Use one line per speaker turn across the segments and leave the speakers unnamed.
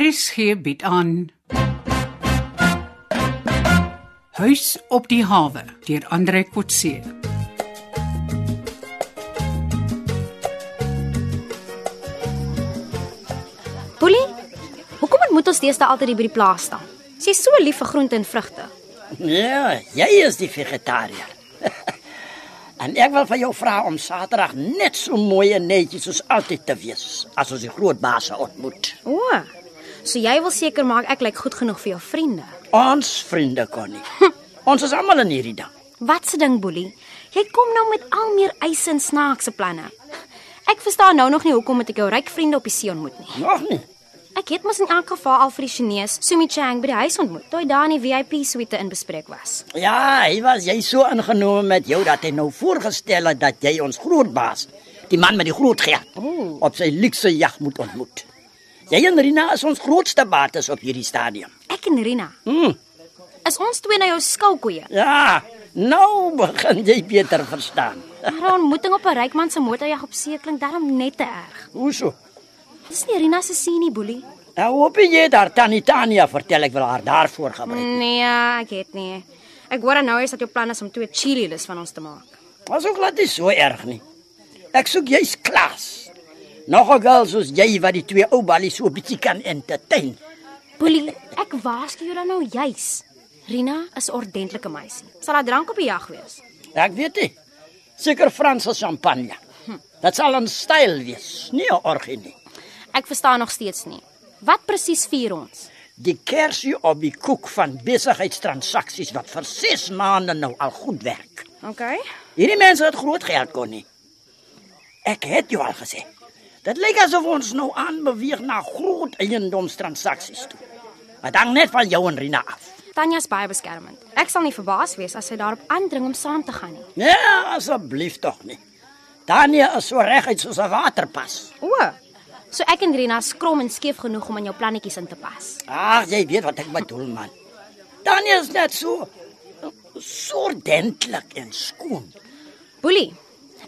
RSG bied aan Huis op die hawe deur Andre Kotse.
Boelie, hoekom moet ons deesdae altyd hier by die plaas staan? Sy's so lief vir groente en vrugte.
Ja, jy is die vegetariër. en ek wil van jou vra om Saterdag net so mooi en netjies soos altyd te wees as ons die groot baas ontmoet.
O. So jy wil seker maak ek lyk goed genoeg vir jou vriende.
Ons vriende kon nie. ons is almal in hierdie ding.
Wat se ding, Boelie? Jy kom nou met al meer eise en snaakse planne. Ek verstaan nou nog nie hoekom moet ek jou ryk vriende op die see ontmoet nie.
Nog nie.
Ek het mos in elk geval al vir die Chinees Sumi Chang by die huis ontmoet, toe hy daar in die VIP suite in bespreek was.
Ja, hy was jy so ingenome met jou dat hy nou voorgestel het dat jy ons groot baas, die man met die groot geld, op sy luukse jag moet ontmoet. Jy en Rina is ons grootste bates op hierdie stadium.
Ek en Rina,
Hm.
is ons twee nou jou skoukoeie?
Ja, nou begin jy beter verstaan.
Maar 'n ontmoeting op 'n ryk man se motorjag op see klink darm net te erg.
Hoeso?
Dis nie Rina se sien nie, Boelie.
Nou hoop jy daar tannie Tania vertel ek wil haar daarvoor gebruik.
Nee, ek het nie. Ek hoor nou is dat jou plan is om twee chili lus van ons te maak.
Was ook glad nie so erg nie. Ek soek jy's klas. Nog 'n girl soos jy wat die twee ou ballies so 'n bietjie kan entertain.
Boelie, ek waarsku jou dan nou juis. Rina is 'n ordentlike meisie. Sal haar drank op die jag wees.
Ek weet dit. Seker Franse champagne. Dit sal 'n styl wees, nie 'n orgie nie.
Ek verstaan nog steeds nie. Wat presies vier ons?
Die kersie op die koek van besigheidstransaksies wat vir 6 maande nou al goed werk.
OK.
Hierdie mense het groot geld kon nie. Ek het jou al gesê. Dit lyk asof ons nou aanbeweeg na groot eiendomstransaksies toe. Maar dan net van jou en Rina af.
Tanya's baie beskermend. Ek sal nie verbaas wees as sy daarop aandring om saam te gaan nie.
Nee, asseblief tog nie. Dania is so reguit soos 'n waterpas.
O. So ek en Rina is krom en skeef genoeg om in jou plannetjies in te pas.
Ag, jy weet wat ek bedoel man. Dania is net so so ordentlik en skoon.
Boelie,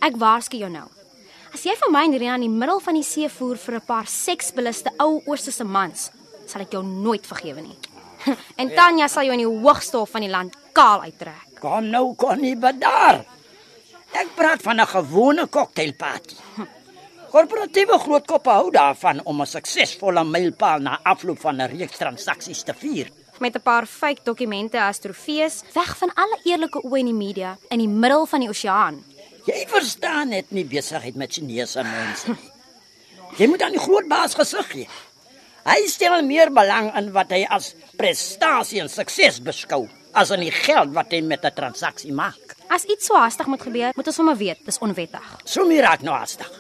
ek waarsku jou nou. As jy vir my en Rina in die middel van die see voer vir 'n paar seksbeluste ou oosterse mans, sal ek jou nooit vergewe nie. en Tanya sal jou in die hoogste hof van die land kaal uittrek.
Kom nou, kon nie bedaar. Ek praat van 'n gewone cocktailparty. Korporatiewe grootkoppe hou daarvan om 'n suksesvolle mylpaal na afloop van 'n reeks transaksies te vier.
Met 'n paar fake dokumente as trofees, weg van alle eerlike oë in die media, in die middel van die oseaan.
Jy verstaan net nie besigheid met Chinese mense nie. Jy moet aan die groot baas gesig gee. Hy stel meer belang in wat hy as prestasie en sukses beskou as in die geld wat hy met 'n transaksie maak.
As iets so hastig moet gebeur, moet ons sommer weet, dis onwettig.
Sumi raak nou haastig.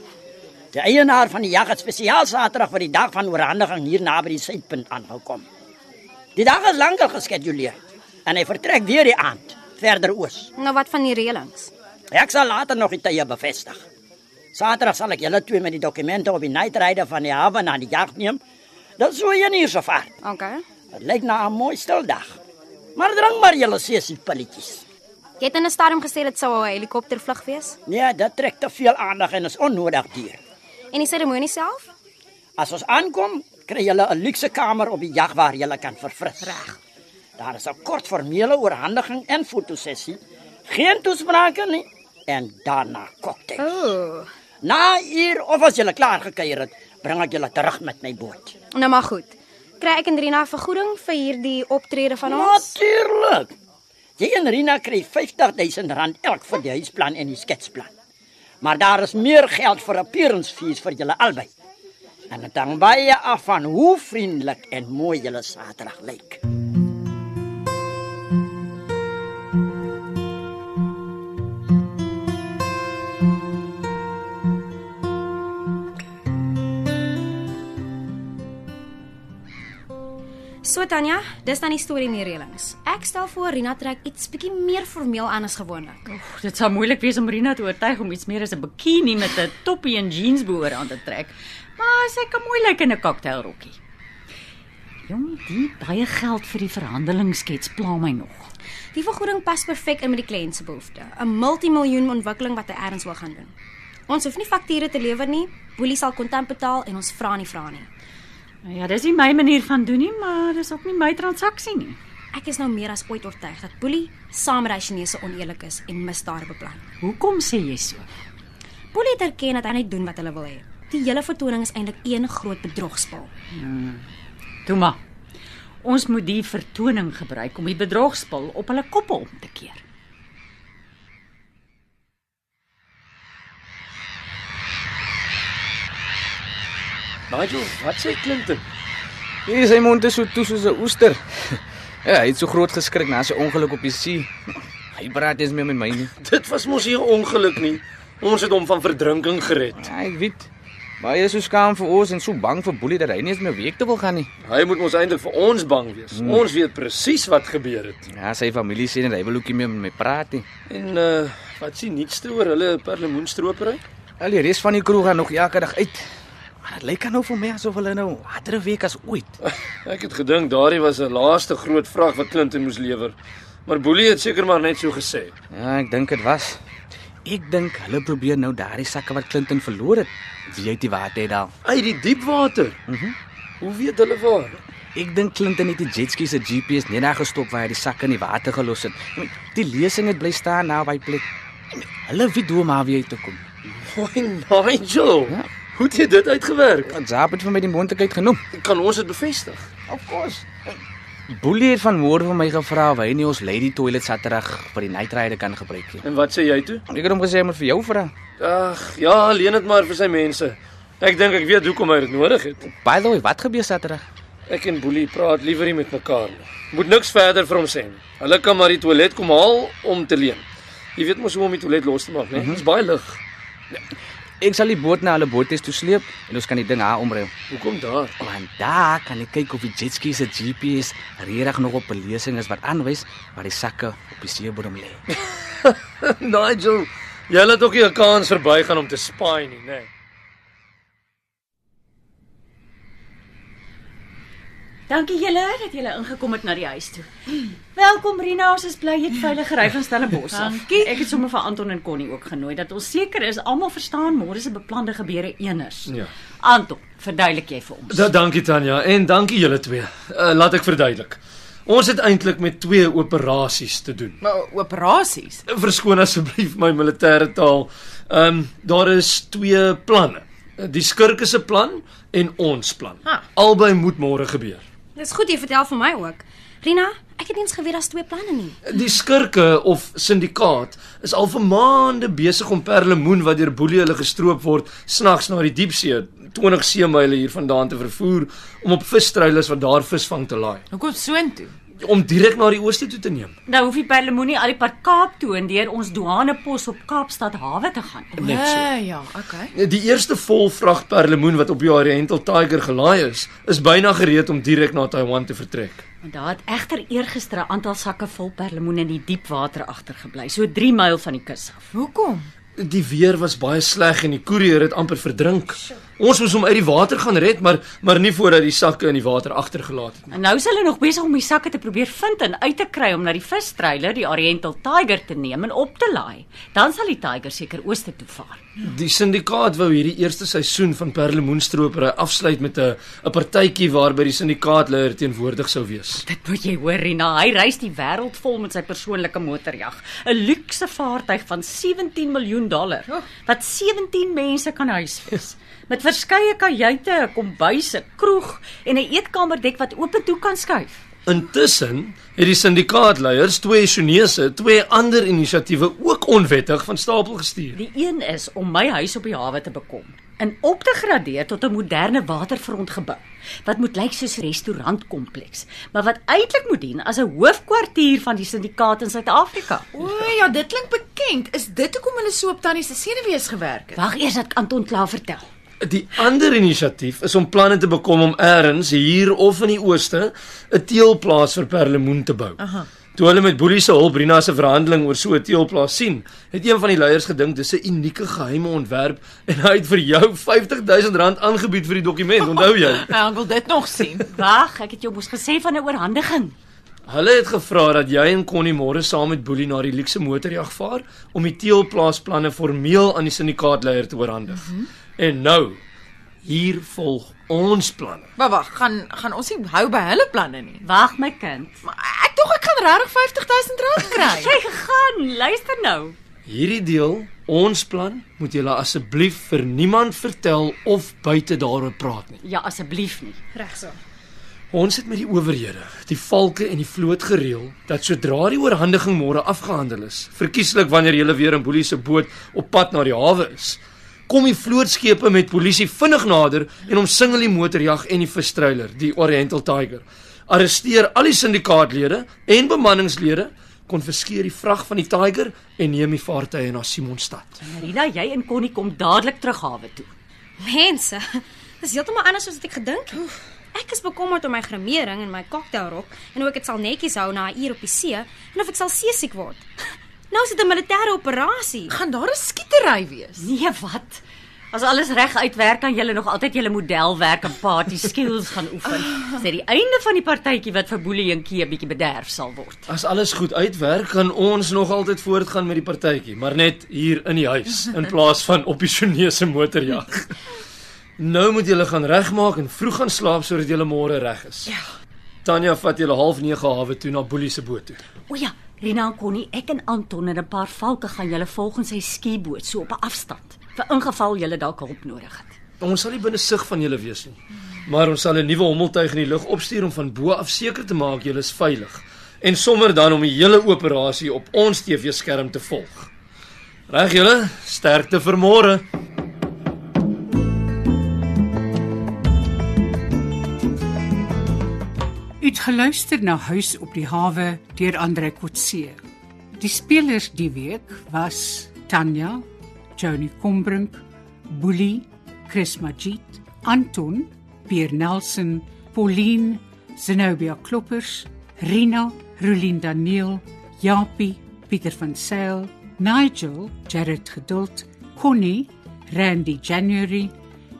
Die eienaar van die jag het spesiaal Saterdag vir die dag van oorhandiging hier naby die suidpunt aangekom. Die dag is lankal geskeduleer en hy vertrek weer die aand verder oos.
Nou wat van die reëlings?
Ek sal later nog die tye bevestig. Saterdag sal ek julle twee met die dokumente op die nightryder van die hawe na die jag neem. Dit sou jy nie so vaar.
OK.
Dit lyk na 'n mooi stil dag. Maar drink maar julle seesie pilletjies.
Jy het in 'n stadium gesê dit sou 'n helikoptervlug wees.
Nee, dit trek te veel aandag en is onnodig duur.
En die seremonie self?
As ons aankom, kry julle 'n luukse kamer op die jag waar julle kan verfris.
Reg.
Daar is 'n kort formele oorhandiging en fotosessie. Geen toesprake nie en daarna
Oh.
cocktail.
Ooh.
Na 'n uur of as julle klaar gekuier het, bring ek julle terug met my boot.
Nou maar goed. Kry ek en Rina vergoeding vir hierdie optrede van ons?
Natuurlik. Jy en Rina kry R50000 elk vir die huisplan en die sketsplan. Maar daar is meer geld vir appearance fees vir julle albei. En dit hang baie af van hoe vriendelik en mooi julle Saterdag lyk.
So Tanya, dis dan die storie in die reëlings. Ek stel voor Rina trek iets bietjie meer formeel aan as gewoonlik.
Oef, Dit sal moeilik wees om Rina te oortuig om iets meer as 'n bikini met 'n toppie en jeans behoor aan te trek. Maar sy kan moeilik in 'n cocktailrokkie. Jong, die baie geld vir die verhandelingsskets pla my nog.
Die vergoeding pas perfek in met die kliënt se behoeftes. 'n Multimiljoen ontwikkeling wat hy ergens wil gaan doen. Ons hoef nie fakture te lewer nie. Boelie sal kontant betaal en ons vra nie vra nie.
Nou ja, dis nie my manier van doen nie, maar dis ook nie my transaksie nie.
Ek is nou meer as ooit oortuig dat Boelie saam met daai Chinese oneerlik is en misdade beplan.
Hoekom sê jy so?
Boelie het erken dat hy net doen wat hulle wil hê. Die hele vertoning is eintlik een groot bedrogspel.
Toe maar. Ons moet die vertoning gebruik om die bedrogspil op hulle koppe om te keer.
Nigel, wat sê Clinton?
Hier sy mond is so toe soos 'n oester. Ja, hy het so groot geskrik na sy ongeluk op die see. Hy praat eens meer met my nie.
Dit was mos hier ongeluk nie. Ons het hom van verdrinking gered.
Ja, ek weet. Maar hy is so skaam vir ons en so bang vir Boelie dat hy nie eens meer week toe wil gaan nie.
Hy moet mos eintlik vir ons bang wees. Hmm. Ons weet presies wat gebeur het.
Ja, sy familie sê net hy wil ook nie meer met my praat nie.
En uh wat sien nuutste oor hulle perlemoenstropery?
Al die res van die kroeg gaan nog elke dag uit. Maar dit lyk nou vir my asof hulle nou harder week as ooit.
Ek het gedink daardie was 'n laaste groot vraag wat Clinton moes lewer. Maar Boelie het seker maar net so gesê.
Ja, ek dink dit was. Ek dink hulle probeer nou daardie sakke wat Clinton verloor het, wie uit die water het daal.
Uit die diep water. Mhm. Mm Hoe weet hulle waar?
Ek dink Clinton het die jetski se GPS net daar gestop waar hy die sakke in die water gelos het. Ek meen, Die lesing het bly staan na by plek. Ek meen, Hulle weet hoe om haar weer uit te kom.
Mooi Nigel. Ja. Hoe het jy dit uitgewerk?
Want Zaap het vir my die moontlikheid genoem.
Kan ons dit bevestig?
Of course. Boelie het vanmôre vir my gevra of hy nie ons lady toilet Saterdag by die night rider kan gebruik nie.
En wat sê jy toe?
Ek het hom gesê hy moet vir jou vra.
Ag, ja, leen dit maar vir sy mense. Ek dink ek weet hoekom hy dit nodig het.
By the way, wat gebeur Saterdag?
Ek en Boelie praat liewer nie met mekaar nie. Moet niks verder vir hom sê nie. Hulle kan maar die toilet kom haal om te leen. Jy weet mos hoe om die toilet los te maak, né? Dit mm -hmm. is baie lig.
Ek sal die boot na hulle boothuis toe sleep en ons kan die ding haar omruil.
Hoekom daar?
Want daar kan ek kyk of die jetski se GPS regtig nog op belesing is wat aanwys waar die sakke op die seebodem lê.
Nigel, jy laat ook nie 'n kans verbygaan om te spy nie, né?
Dankie julle dat julle ingekom het na die huis toe. Welkom Rina, ons is bly jy het veilig gery van Stellenbosch af. Dankie. Ek het sommer vir Anton en Connie ook genooi dat ons seker is almal verstaan môre se beplande gebeure eners.
Ja.
Anton, verduidelik jy vir ons.
Da, dankie Tanya en dankie julle twee. Uh, laat ek verduidelik. Ons het eintlik met twee operasies te doen.
Maar operasies.
Verskoon asseblief my militêre taal. Ehm um, daar is twee planne. Die skurke se plan en ons plan.
Ah.
Albei moet môre gebeur.
Dis goed jy vertel vir my ook. Rina, ek het nie eens geweet daar's twee planne nie.
Die skurke of syndikaat is al vir maande besig om perlemoen wat deur boelie hulle gestroop word snags na die diepsee 20 seemyle hier vandaan te vervoer om op visstreilers wat daar visvang te laai
Hoekom soontoe?
om direk na die ooste toe te neem.
Nou hoef die perlemoenie al die pad Kaap toe en deur ons douanepos op Kaapstad hawe te gaan.
Net so.
Eh, ja, okay.
Die eerste vol vrag perlemoen wat op die Oriental Tiger gelaai is, is byna gereed om direk na Taiwan te vertrek.
Want daar het egter eergister 'n aantal sakke vol perlemoen in die diep water agtergebly, so 3 myl van die kus af.
Hoekom?
Die weer was baie sleg en die koerier het amper verdrink. Ons moes hom uit die water gaan red, maar maar nie voordat die sakke in die water agtergelaat het nie.
En nou is hulle nog besig om die sakke te probeer vind en uit te kry om na die vistreiler, die Oriental Tiger te neem en op te laai. Dan sal die Tiger seker ooste toe vaar.
Die syndikaat wou hierdie eerste seisoen van perlemoenstropery afsluit met 'n 'n partytjie waarby die syndikaatleier teenwoordig sou wees.
Dit moet jy hoor, Rina. Hy reis die wêreld vol met sy persoonlike motorjag, 'n luukse vaartuig van 17 miljoen dollar wat 17 mense kan huisves. Met verskeie kajuite, 'n kombuis, 'n kroeg en 'n eetkamerdek wat oop toe kan skuif.
Intussen het die syndikaatleiers twee Chinese, twee ander inisiatiewe ook onwettig van stapel gestuur.
Die een is om my huis op die hawe te bekom en op te gradeer tot 'n moderne waterfront gebou wat moet lyk soos 'n restaurantkompleks, maar wat eintlik moet dien as 'n hoofkwartier van die sindikaat in Suid-Afrika.
O ja, dit klink bekend. Is dit hoekom hulle so op tannie se senuwees gewerk het?
Wag eers dat ek Anton klaar vertel.
Die ander inisiatief is om planne te bekom om eers hier of in die ooste 'n teelplaas vir perlemoen te bou. Aha. Toe hulle met Boelie se hulp Rina se verhandeling oor so 'n teelplaas sien, het een van die leiers gedink dis 'n unieke geheime ontwerp en hy het vir jou R50000 aangebied vir die dokument, onthou jy?
Ek wil dit nog sien.
Wag, ek het jou mos gesê van 'n oorhandiging.
Hulle het gevra dat jy en Connie môre saam met Boelie na die luukse motorjag vaar om die teelplaasplanne formeel aan die syndikaatleier te oorhandig. En nou, hier volg ons planne.
Maar wag, gaan gaan ons nie hou by hulle planne nie.
Wag my kind.
Maar ek dink ek gaan regtig R50000 rand kry.
Jy gaan, luister nou.
Hierdie deel, ons plan, moet julle asseblief vir niemand vertel of buite daaroor praat nie.
Ja, asseblief nie.
Ons het met die owerhede, die valke en die vloot gereël dat sodra die oorhandiging môre afgehandel is, verkieslik wanneer julle weer in Boelie se boot op pad na die hawe is, kom die vlootskepe met polisie vinnig nader en omsingel die motorjag en die visstreiler, die Oriental Tiger. Arresteer al die syndikaatlede en bemanningslede, konfiskeer die vrag van die Tiger en neem die vaartuie na Simonstad.
Marina, jy en Connie kom dadelik terug hawe toe.
Mense, dis heeltemal anders as wat ek gedink het. Ek is bekommerd oor my grimering en my cocktailrok en hoe ek dit sal netjies hou na 'n uur op die see en of ek sal seesiek word. Nou is dit 'n militêre operasie.
Gaan daar 'n skietery wees?
Nee, wat? As alles reg uitwerk, kan julle nog altyd julle modelwerk en party skills gaan oefen. Dis net die einde van die partytjie wat vir Boelie en Kie 'n bietjie bederf sal word.
As alles goed uitwerk, gaan ons nog altyd voortgaan met die partytjie, maar net hier in die huis in plaas van op die Chinese motorjag. Nou moet julle gaan regmaak en vroeg gaan slaap sodat julle môre reg is. Ja. Tanya vat julle half 9 hawe toe na Boelie se boot toe.
O ja, Rina en Connie, ek en Anton en 'n paar valke gaan julle volg in sy skieboot so op 'n afstand vir ingeval julle dalk hulp nodig het.
Ons sal nie binne sig van julle wees nie, maar ons sal 'n nuwe hommeltuig in die lug opstuur om van bo af seker te maak julle is veilig en sommer dan om die hele operasie op ons TV-skerm te volg. Reg julle, sterkte vir môre.
U het geluister na Huis op die hawe deur Andre Kotse. Die spelers die week was Tanya, Johnny Combrink, Boelie, Chris Magid, Anton, Pierre Nelson, Pauline, Zenobia Kloppers, Rina, Rulien Daniel, Japie, Pieter van Sail, Nigel, Jared Geduld, Connie, Randy January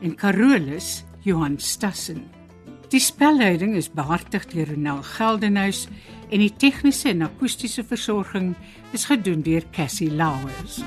en Carolus Johan Stassen. Die spelleiding is behartig deur Ronel Geldenhuys en die tegniese en akoestiese versorging is gedoen deur Cassie Lauers.